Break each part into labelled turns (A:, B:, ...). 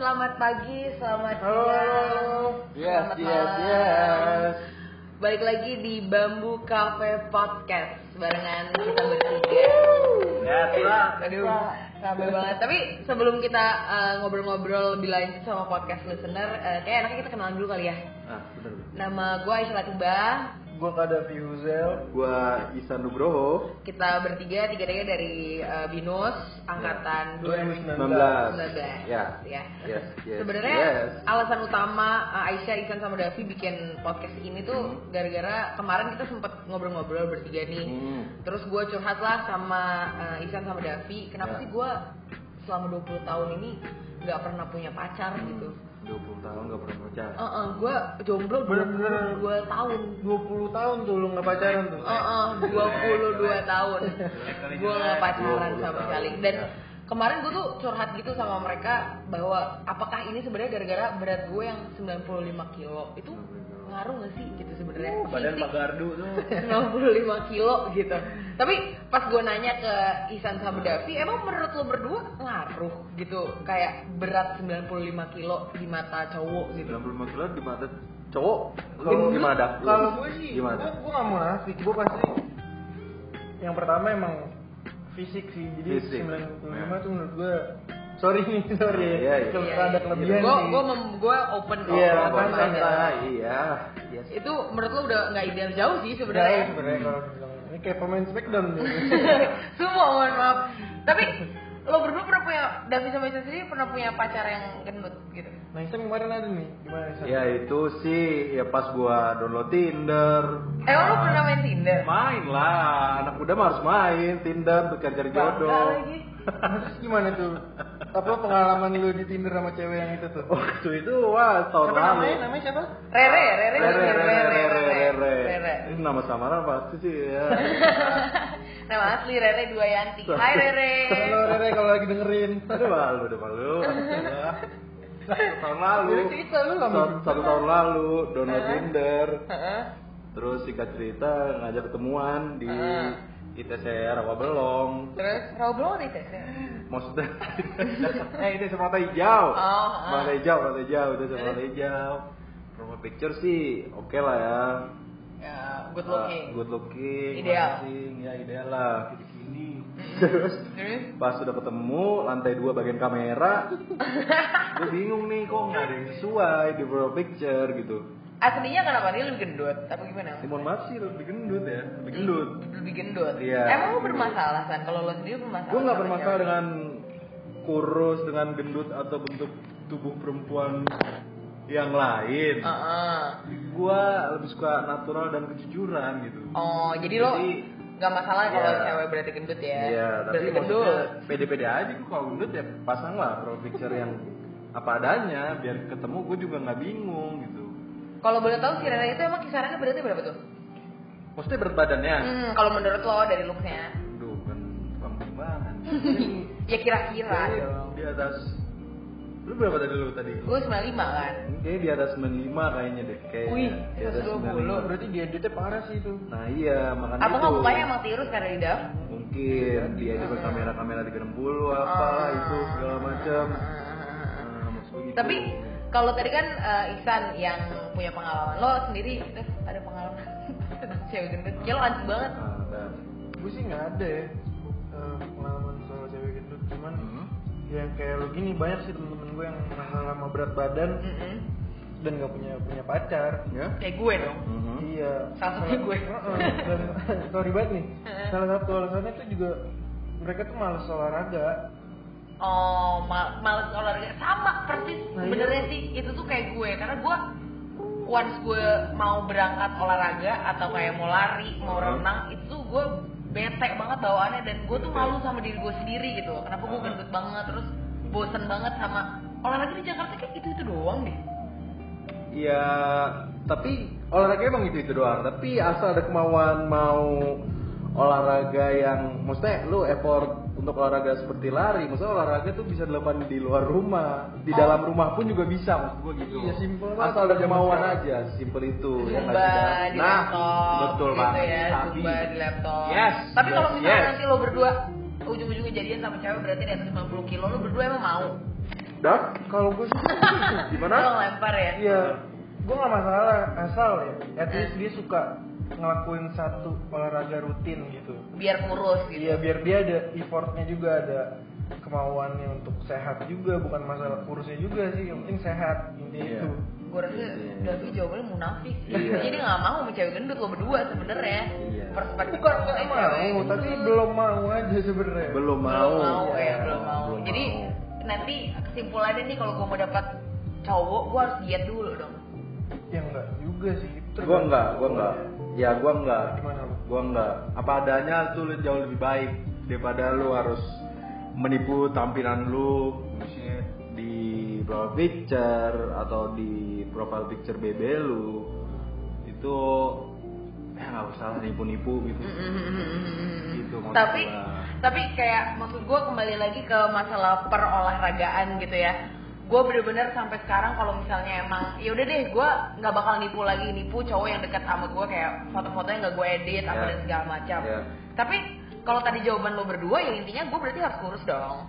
A: pagi, selamat
B: Halo.
A: siang,
B: Yes,
A: selamat
B: yes,
A: malam.
B: yes.
A: Balik lagi di Bambu Cafe Podcast barengan kita bertiga.
B: Ya, telah.
A: Aduh, rame banget. Tapi sebelum kita eh, ngobrol-ngobrol lebih lanjut sama podcast listener, eh, kayak enaknya kita kenalan dulu kali ya.
B: Nah, bener.
A: Nama gue Aisyah Latiba,
B: Gua Kadafi Huzel. Gua Isan Nugroho.
A: kita bertiga, tiga-tiga dari eh, Binus, angkatan
B: 2019.
A: 2019.
B: Ya.
A: ya.
B: Yes, yes,
A: Sebenarnya
B: yes.
A: alasan utama uh, Aisyah, Isan sama Davi bikin podcast ini tuh
B: Mm-hmm.
A: gara-gara kemarin kita sempet ngobrol-ngobrol bertiga nih.
B: Hmm.
A: Terus gue curhat lah sama uh, Isan sama Davi, kenapa
B: Ya.
A: sih gue selama 20 tahun ini nggak pernah punya pacar gitu.
B: Mm-hmm. 20 Hmm, tahun gak pernah pacaran.
A: Eh, eh, gue jomblo
C: Bener-bener.
A: 22 tahun.
C: 20 tahun tuh lu nggak pacaran tuh.
B: Eh,
A: Oh, oh, 22 tahun. Gue gak pacaran sama
B: 22 tahun.
A: sekali. Dan
B: Ya.
A: kemarin gue tuh curhat gitu sama mereka bahwa apakah ini sebenarnya gara-gara berat gue yang 95 kilo itu
B: 95.
A: ngaruh gak sih gitu sebenarnya?
C: Uh, badan
A: Fisik
C: Pak Gardu tuh.
A: 95 kilo gitu. Tapi pas gue nanya ke Isan sama Davi, emang menurut lo berdua ngaruh gitu kayak berat 95 kilo di mata cowok gitu?
B: 95 kilo di mata cowok.
C: Kalau-
B: Lu gimana dah? Lu
C: Kalau gue sih,
B: gimana?
C: gue gue nggak munafik, gue pasti yang pertama emang fisik sih. Jadi
B: Fisik.
C: 95
B: Ya.
C: tuh menurut gue sorry nih sorry ya,
B: Iya, iya.
C: Kalau
A: Iya,
C: ada
A: iya. Gue
C: kelebihan sih.
A: gue gue open kok.
C: Iya,
A: Gua
B: Apa
A: open
C: santai.
A: aja.
B: santai? Iya. Yes.
A: itu menurut lo udah nggak ideal jauh sih
C: sebenarnya
A: sebenarnya
C: sebenarnya kalau dibilang ini kayak pemain Smackdown nih.
A: semua mohon maaf tapi lo berdua pernah punya Davi sama Isan sendiri pernah punya pacar yang gendut gitu
C: nah Isam kemarin ada nih gimana Isam?
B: Ya itu sih ya pas gua download Tinder.
A: eh lo pernah main Tinder
B: Main lah, anak muda mah harus main Tinder bukan cari
A: Bangga
B: jodoh.
A: lagi
C: Nah, Terus gimana tuh? Apa pengalaman lu di Tinder sama cewek yang itu tuh?
B: Waktu itu wah tahun
C: Siapa
B: lalu.
C: namanya? Namanya siapa?
A: Rere Rere
B: Rere,
A: Rere Rere
B: Rere,
A: Rere
B: Rere. Ini nama samaran pasti sih ya.
A: nama asli Rere dua Yanti Hai Rere
C: Halo Rere kalau lagi dengerin.
B: Aduh malu, udah malu. Alah. Satu tahun lalu.
C: Jadi cerita lu lama
B: Satu,
C: juga.
B: satu tahun lalu download Tinder.
A: Heeh.
B: Terus singkat cerita ngajak ketemuan di ITC Rawa Belong.
A: terus Roblo nih tes ya?
B: Maksudnya eh ini semata hijau.
A: Oh, Eh. ah.
B: Semata hijau, semata hijau, itu semata hijau. Promo picture sih oke lah ya.
A: ya good
B: Ah,
A: looking
B: Good looking.
A: Ideal. Hmm.
B: masing-masing. Ya ideal lah. Gini.
A: terus
B: Pas udah ketemu lantai dua bagian kamera, gue bingung nih kok nggak ada yang sesuai di profile picture gitu.
A: aslinya kenapa dia lebih gendut apa gimana
B: Ini mohon maaf sih lebih gendut ya, lebih gendut.
A: lebih gendut
B: Iya.
A: emang lo bermasalah kan kalau lo sendiri bermasalah
B: Gue nggak
A: sama
B: bermasalah
A: cewek?
B: dengan kurus, dengan gendut atau bentuk tubuh perempuan yang lain.
A: Oh. Heeh.
B: Gue lebih suka natural dan kejujuran gitu.
A: Oh, jadi lo
B: Jadi-
A: nggak masalah kalau
B: Iya.
A: cewek berarti gendut ya?
B: Iya, tapi
A: berarti gendut.
B: maksudnya pede-pede aja gue kalau gendut ya pasang lah profile picture yang apa adanya biar ketemu gue juga nggak bingung gitu.
A: Kalau boleh tahu kira-kira itu emang kisarannya berarti berapa tuh?
B: Maksudnya berat badannya?
A: Hmm, kalau menurut lo dari looksnya?
B: Aduh, kan tukang timbangan.
C: Iya,
A: ya kira-kira dong.
B: di atas lu berapa tadi lu tadi?
A: Gue 95 kan.
B: Kayaknya di atas 95 kayaknya deh. Kayaknya.
A: Wih,
B: di atas
A: 120.
C: Berarti dia editnya parah sih itu.
B: 95. Nah iya, makanya
A: Atau nggak ya,
B: itu.
A: mukanya emang tirus kan karena di dalam?
B: Mungkin dia juga
A: Iya.
B: kamera-kamera 30
A: Ah.
B: apalah itu segala macam. Nah, maksud gue gitu.
A: Tapi kalau tadi kan eh, Iksan yang punya pengalaman, lo sendiri eh, ada pengalaman tentang cewek gendut? Ya lo anti banget.
B: Nah, dan-
C: Gue sih nggak ada ya eh, pengalaman soal cewek gendut. Cuman
B: Hmm.
C: yang kayak lu gini banyak sih temen-temen gue yang masalah sama berat badan
A: Mm-mm.
C: dan nggak punya punya pacar.
B: Ya?
A: Kayak gue dong.
B: Mhm.
C: Iya.
A: Salah satunya gue.
C: Heeh, dan- sorry banget nih. Salah satu alasannya tuh juga mereka tuh males olahraga.
A: Oh, mal males olahraga sama persis.
C: Nah, iya.
A: Benernya sih itu tuh kayak gue karena gue once gue mau berangkat olahraga atau kayak mau lari, mau
B: Hmm.
A: renang itu gue bete banget bawaannya dan gue tuh malu sama diri gue sendiri gitu. loh. Kenapa gue
B: Hmm.
A: gendut banget terus bosen banget sama olahraga di Jakarta kayak itu itu doang deh.
B: Iya, tapi olahraga emang itu itu doang. Tapi asal ada kemauan mau olahraga yang, maksudnya lu effort untuk olahraga seperti lari, maksudnya olahraga tuh bisa dilakukan di luar rumah, di
A: Oh.
B: dalam rumah pun juga bisa, maksud gua gitu.
C: Iya, simple banget.
B: Asal ada
C: Zaman
B: kemauan
C: sekarang.
B: aja, simple itu. ya nggak sih,
A: Zumba
B: Dan?
A: di
B: nah,
A: laptop,
B: betul
A: gitu
B: banget.
A: ya,
B: Abi.
A: Zumba di laptop.
B: Yes,
A: Tapi kalau
B: yes,
A: misalnya
B: yes.
A: nanti lo berdua ujung-ujungnya jadian sama cewek berarti di atas 50 kilo, lo berdua emang mau?
B: Dak?
C: Kalau gue sih
B: Gimana?
A: Lo lempar ya?
C: Iya, gue nggak masalah asal ya.
A: Eh.
C: At least dia suka ngelakuin satu olahraga rutin gitu.
A: Biar kurus gitu.
C: Iya, biar dia ada effortnya juga ada kemauannya untuk sehat juga, bukan masalah kurusnya juga sih. Yang penting sehat intinya
B: Iya.
C: itu.
A: Gue rasa Davi jawabannya munafik.
B: Iya.
A: Jadi nggak mau sama cewek gendut lo berdua sebenarnya.
B: Iya.
A: Perspektif
C: Bukan
A: lo
C: nggak
A: yang cewek.
C: mau, tapi belum mau aja sebenarnya.
B: Belum mau.
A: belum mau ya belum mau
B: Belum
A: jadi
B: mau.
A: nanti kesimpulannya nih kalau gue mau dapat cowok gue harus diet dulu dong
C: Ya enggak juga sih. Itu
B: Gua enggak, gua enggak. Ya gua enggak.
C: Gimana lu?
B: Gua enggak. Apa adanya tuh lu jauh lebih baik daripada lu harus menipu tampilan lu misalnya di profile picture atau di profile picture BB lu itu ya nggak usah lah nipu-nipu gitu. Gitu maksud
A: tapi
B: gua.
A: tapi kayak maksud gue kembali lagi ke masalah perolahragaan gitu ya gue bener-bener sampai sekarang kalau misalnya emang ya udah deh gue nggak bakal nipu lagi nipu cowok yang deket sama gue kayak foto-fotonya nggak gue edit apa
B: Ya.
A: dan segala macam
B: Ya.
A: tapi kalau tadi jawaban lo berdua ya intinya gue berarti harus kurus dong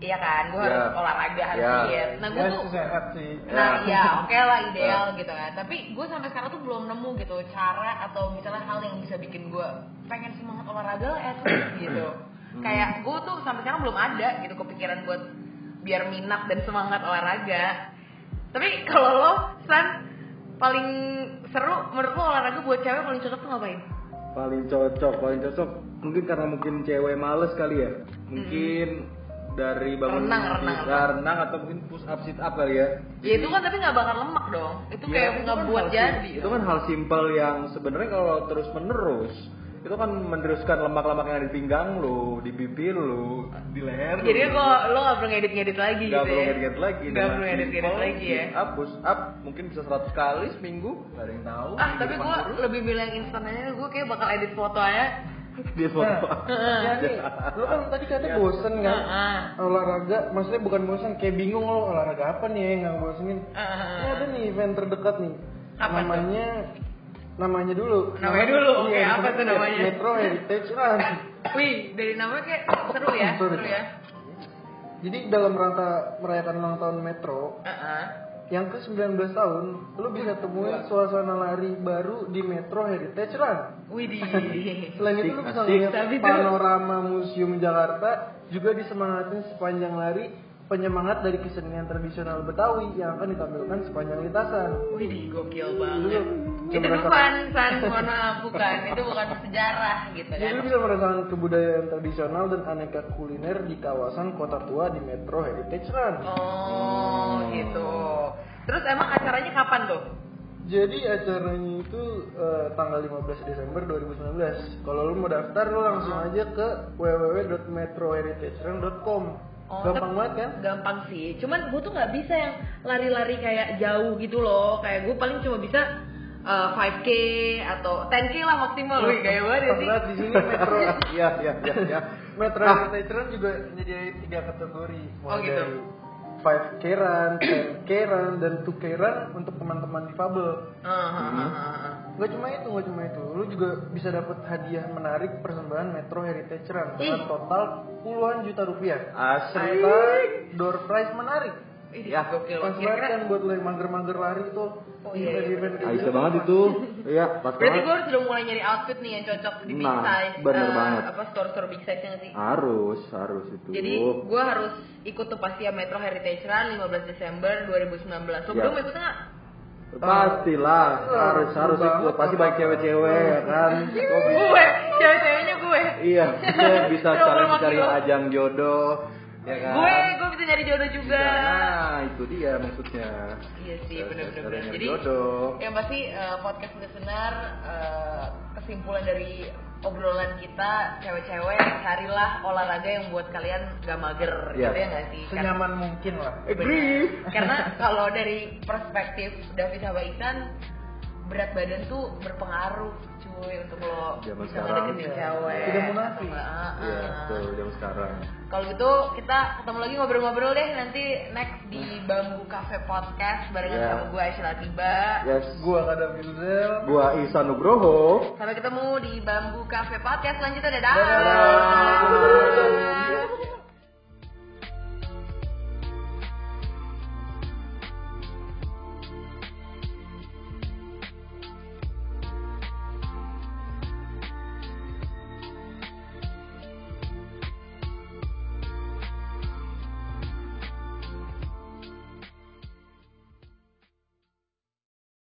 A: iya kan gue
B: Ya.
A: harus olahraga harus
B: Ya.
A: diet nah gue
C: Ya,
A: tuh
C: sehat sih.
A: Nah,
B: Ya.
A: ya
C: iya,
A: oke lah ideal
B: Nah.
A: gitu kan. Tapi gue sampai sekarang tuh belum nemu gitu cara atau misalnya hal yang bisa bikin gue pengen semangat olahraga lah at least gitu.
B: Hmm.
A: Kayak gue tuh sampai sekarang belum ada gitu kepikiran buat biar minat dan semangat olahraga. Tapi kalau lo, San, paling seru menurut lo olahraga buat cewek paling cocok tuh ngapain?
B: paling cocok paling cocok mungkin karena mungkin cewek males kali ya mungkin dari bangun
A: Renang, renang,
B: tidur, renang atau mungkin push up sit up kali ya
A: Ya itu kan tapi nggak bakar lemak dong. Itu
B: Ya,
A: kayak
B: itu kan
A: ngebuat
B: hal sim-
A: jadi.
B: itu kan hal simpel yang sebenarnya kalau terus menerus itu kan meneruskan lemak-lemak yang ada di pinggang lu di bibir lu di leher
A: Jadi
B: lu.
A: lo lo nggak perlu ngedit-ngedit lagi
B: Nggak
A: gitu
B: perlu
A: ya?
B: ngedit lagi Oh,
A: Nggak
B: dengan
A: perlu ngedit-ngedit
B: simple,
A: lagi ya.
B: sit up push up mungkin bisa 100 kali seminggu nggak ada yang tahu
A: ah
B: minggu
A: tapi
B: depan
A: gue
B: baru.
A: lebih bilang instan aja gue kayak bakal edit foto aja
B: dia
A: Nah.
B: foto
C: Ya nih, lo kan tadi kata
B: Iya.
C: bosen kan?
A: Heeh.
C: olahraga maksudnya bukan bosan kayak bingung lo olahraga apa nih yang bosenin
A: ah. Heeh.
C: ini ada nih event terdekat nih
A: Apa tuh?
C: namanya namanya dulu
A: Namanya dulu, oke,
C: Iya,
A: apa tuh namanya?
C: Metro Heritage Ah, Run
A: wih dari namanya kayak seru ya
C: Sorry.
A: seru ya
C: jadi dalam rangka merayakan ulang tahun Metro
A: Heeh.
C: yang ke 19 tahun lo bisa temuin suasana lari baru di Metro Heritage Run
A: wih di
C: selain itu lo bisa
B: Asik.
C: lihat
A: Tapi tuh-
C: panorama Museum Jakarta juga disemangatin sepanjang lari penyemangat dari kesenian tradisional Betawi yang akan ditampilkan sepanjang lintasan.
A: wih di gokil
C: Jadi
A: banget
C: lu bisa
A: itu bukan
C: merasakan-
A: san mohon maaf bukan itu bukan sejarah gitu
C: Jadi
A: kan
C: lu bisa merasakan kebudayaan tradisional dan aneka kuliner di kawasan kota tua di Metro Heritage Run.
A: oh gitu terus emang acaranya kapan tuh
C: Jadi acaranya itu eh, tanggal 15 Desember 2019. Kalau lu mau daftar lu langsung
A: Ah.
C: aja ke www.metroheritagerun.com.
A: Oh,
C: Gampang
A: tapi-
C: banget kan?
A: gampang sih cuman gue tuh nggak bisa yang lari-lari kayak jauh gitu loh kayak gue paling cuma bisa eh, 5k atau 10k lah maksimal wih kayak banget ya sih
C: Berat di sini Metro
B: ya ya ya ya
C: Metro
B: Ah.
C: Heritage Run juga menyediakan tiga kategori mulai
A: Oh, gitu.
C: dari 5 k run, 10 k run, dan 2 k run untuk teman-teman difabel.
A: Heeh, heeh, heeh.
C: Gak cuma itu, gak cuma itu. Lu juga bisa dapat hadiah menarik persembahan Metro Heritage Run
A: Ih.
C: dengan total puluhan juta rupiah.
B: asli
C: Serta door prize menarik.
A: Ih,
B: Ya,
A: gokil.
C: Pas banget
A: Kira-kira-
C: kan buat lo yang mager-mager lari tuh.
A: Iya, Oh, iya, iya,
C: event-event kayak
B: Aisyah
C: gitu.
B: Ah, banget itu iya pas
A: Berarti gue
B: banget
A: harus udah mulai nyari outfit nih yang cocok di big
B: Nah,
A: size.
B: bener
A: eh,
B: banget.
A: Apa store-store big size yang sih?
B: harus harus itu
A: Jadi gue harus ikut tuh pasti ya Metro Heritage Run 15 Desember 2019. Lo
B: Ya.
A: belum ikut nggak?
B: pastilah harus harus
C: Banget,
B: ikut pasti banyak
C: apa-apa.
B: cewek-cewek ya kan Gua bisa-
A: Gue, cewek-ceweknya gue.
B: iya kita bisa
A: Coba
B: cari
A: makin
B: cari
A: lo.
B: ajang jodoh ya kan
A: Gue, gue bisa nyari jodoh juga.
B: nah itu dia maksudnya
A: Iya sih,
B: Cari- cari
A: bener-bener.
B: ajang
A: Jadi
B: jodoh
A: yang pasti eh, podcast listener eh, kesimpulan dari obrolan kita cewek-cewek carilah olahraga yang buat kalian gak mager
B: Iya.
A: gitu ya nggak sih? Karena-
C: Senyaman mungkin lah.
B: agree
A: Karena kalau dari perspektif David sama Isan, berat badan tuh berpengaruh cuy untuk lo
B: Zaman
A: bisa
B: sekarang,
A: ngedeketin
B: iya.
A: cewek. gitu.
C: Tidak munafik.
A: Heeh.
B: iya tuh jam sekarang
A: Kalau gitu kita ketemu lagi ngobrol-ngobrol deh nanti next di Bambu Cafe Podcast barengan
B: Iya.
A: sama gue Aisyah Tiba.
B: yes
C: Gua gak ada Bilzel.
B: gua Ihsan Nugroho
A: Sampai ketemu di Bambu Cafe Podcast selanjutnya dadah.
C: Dadah.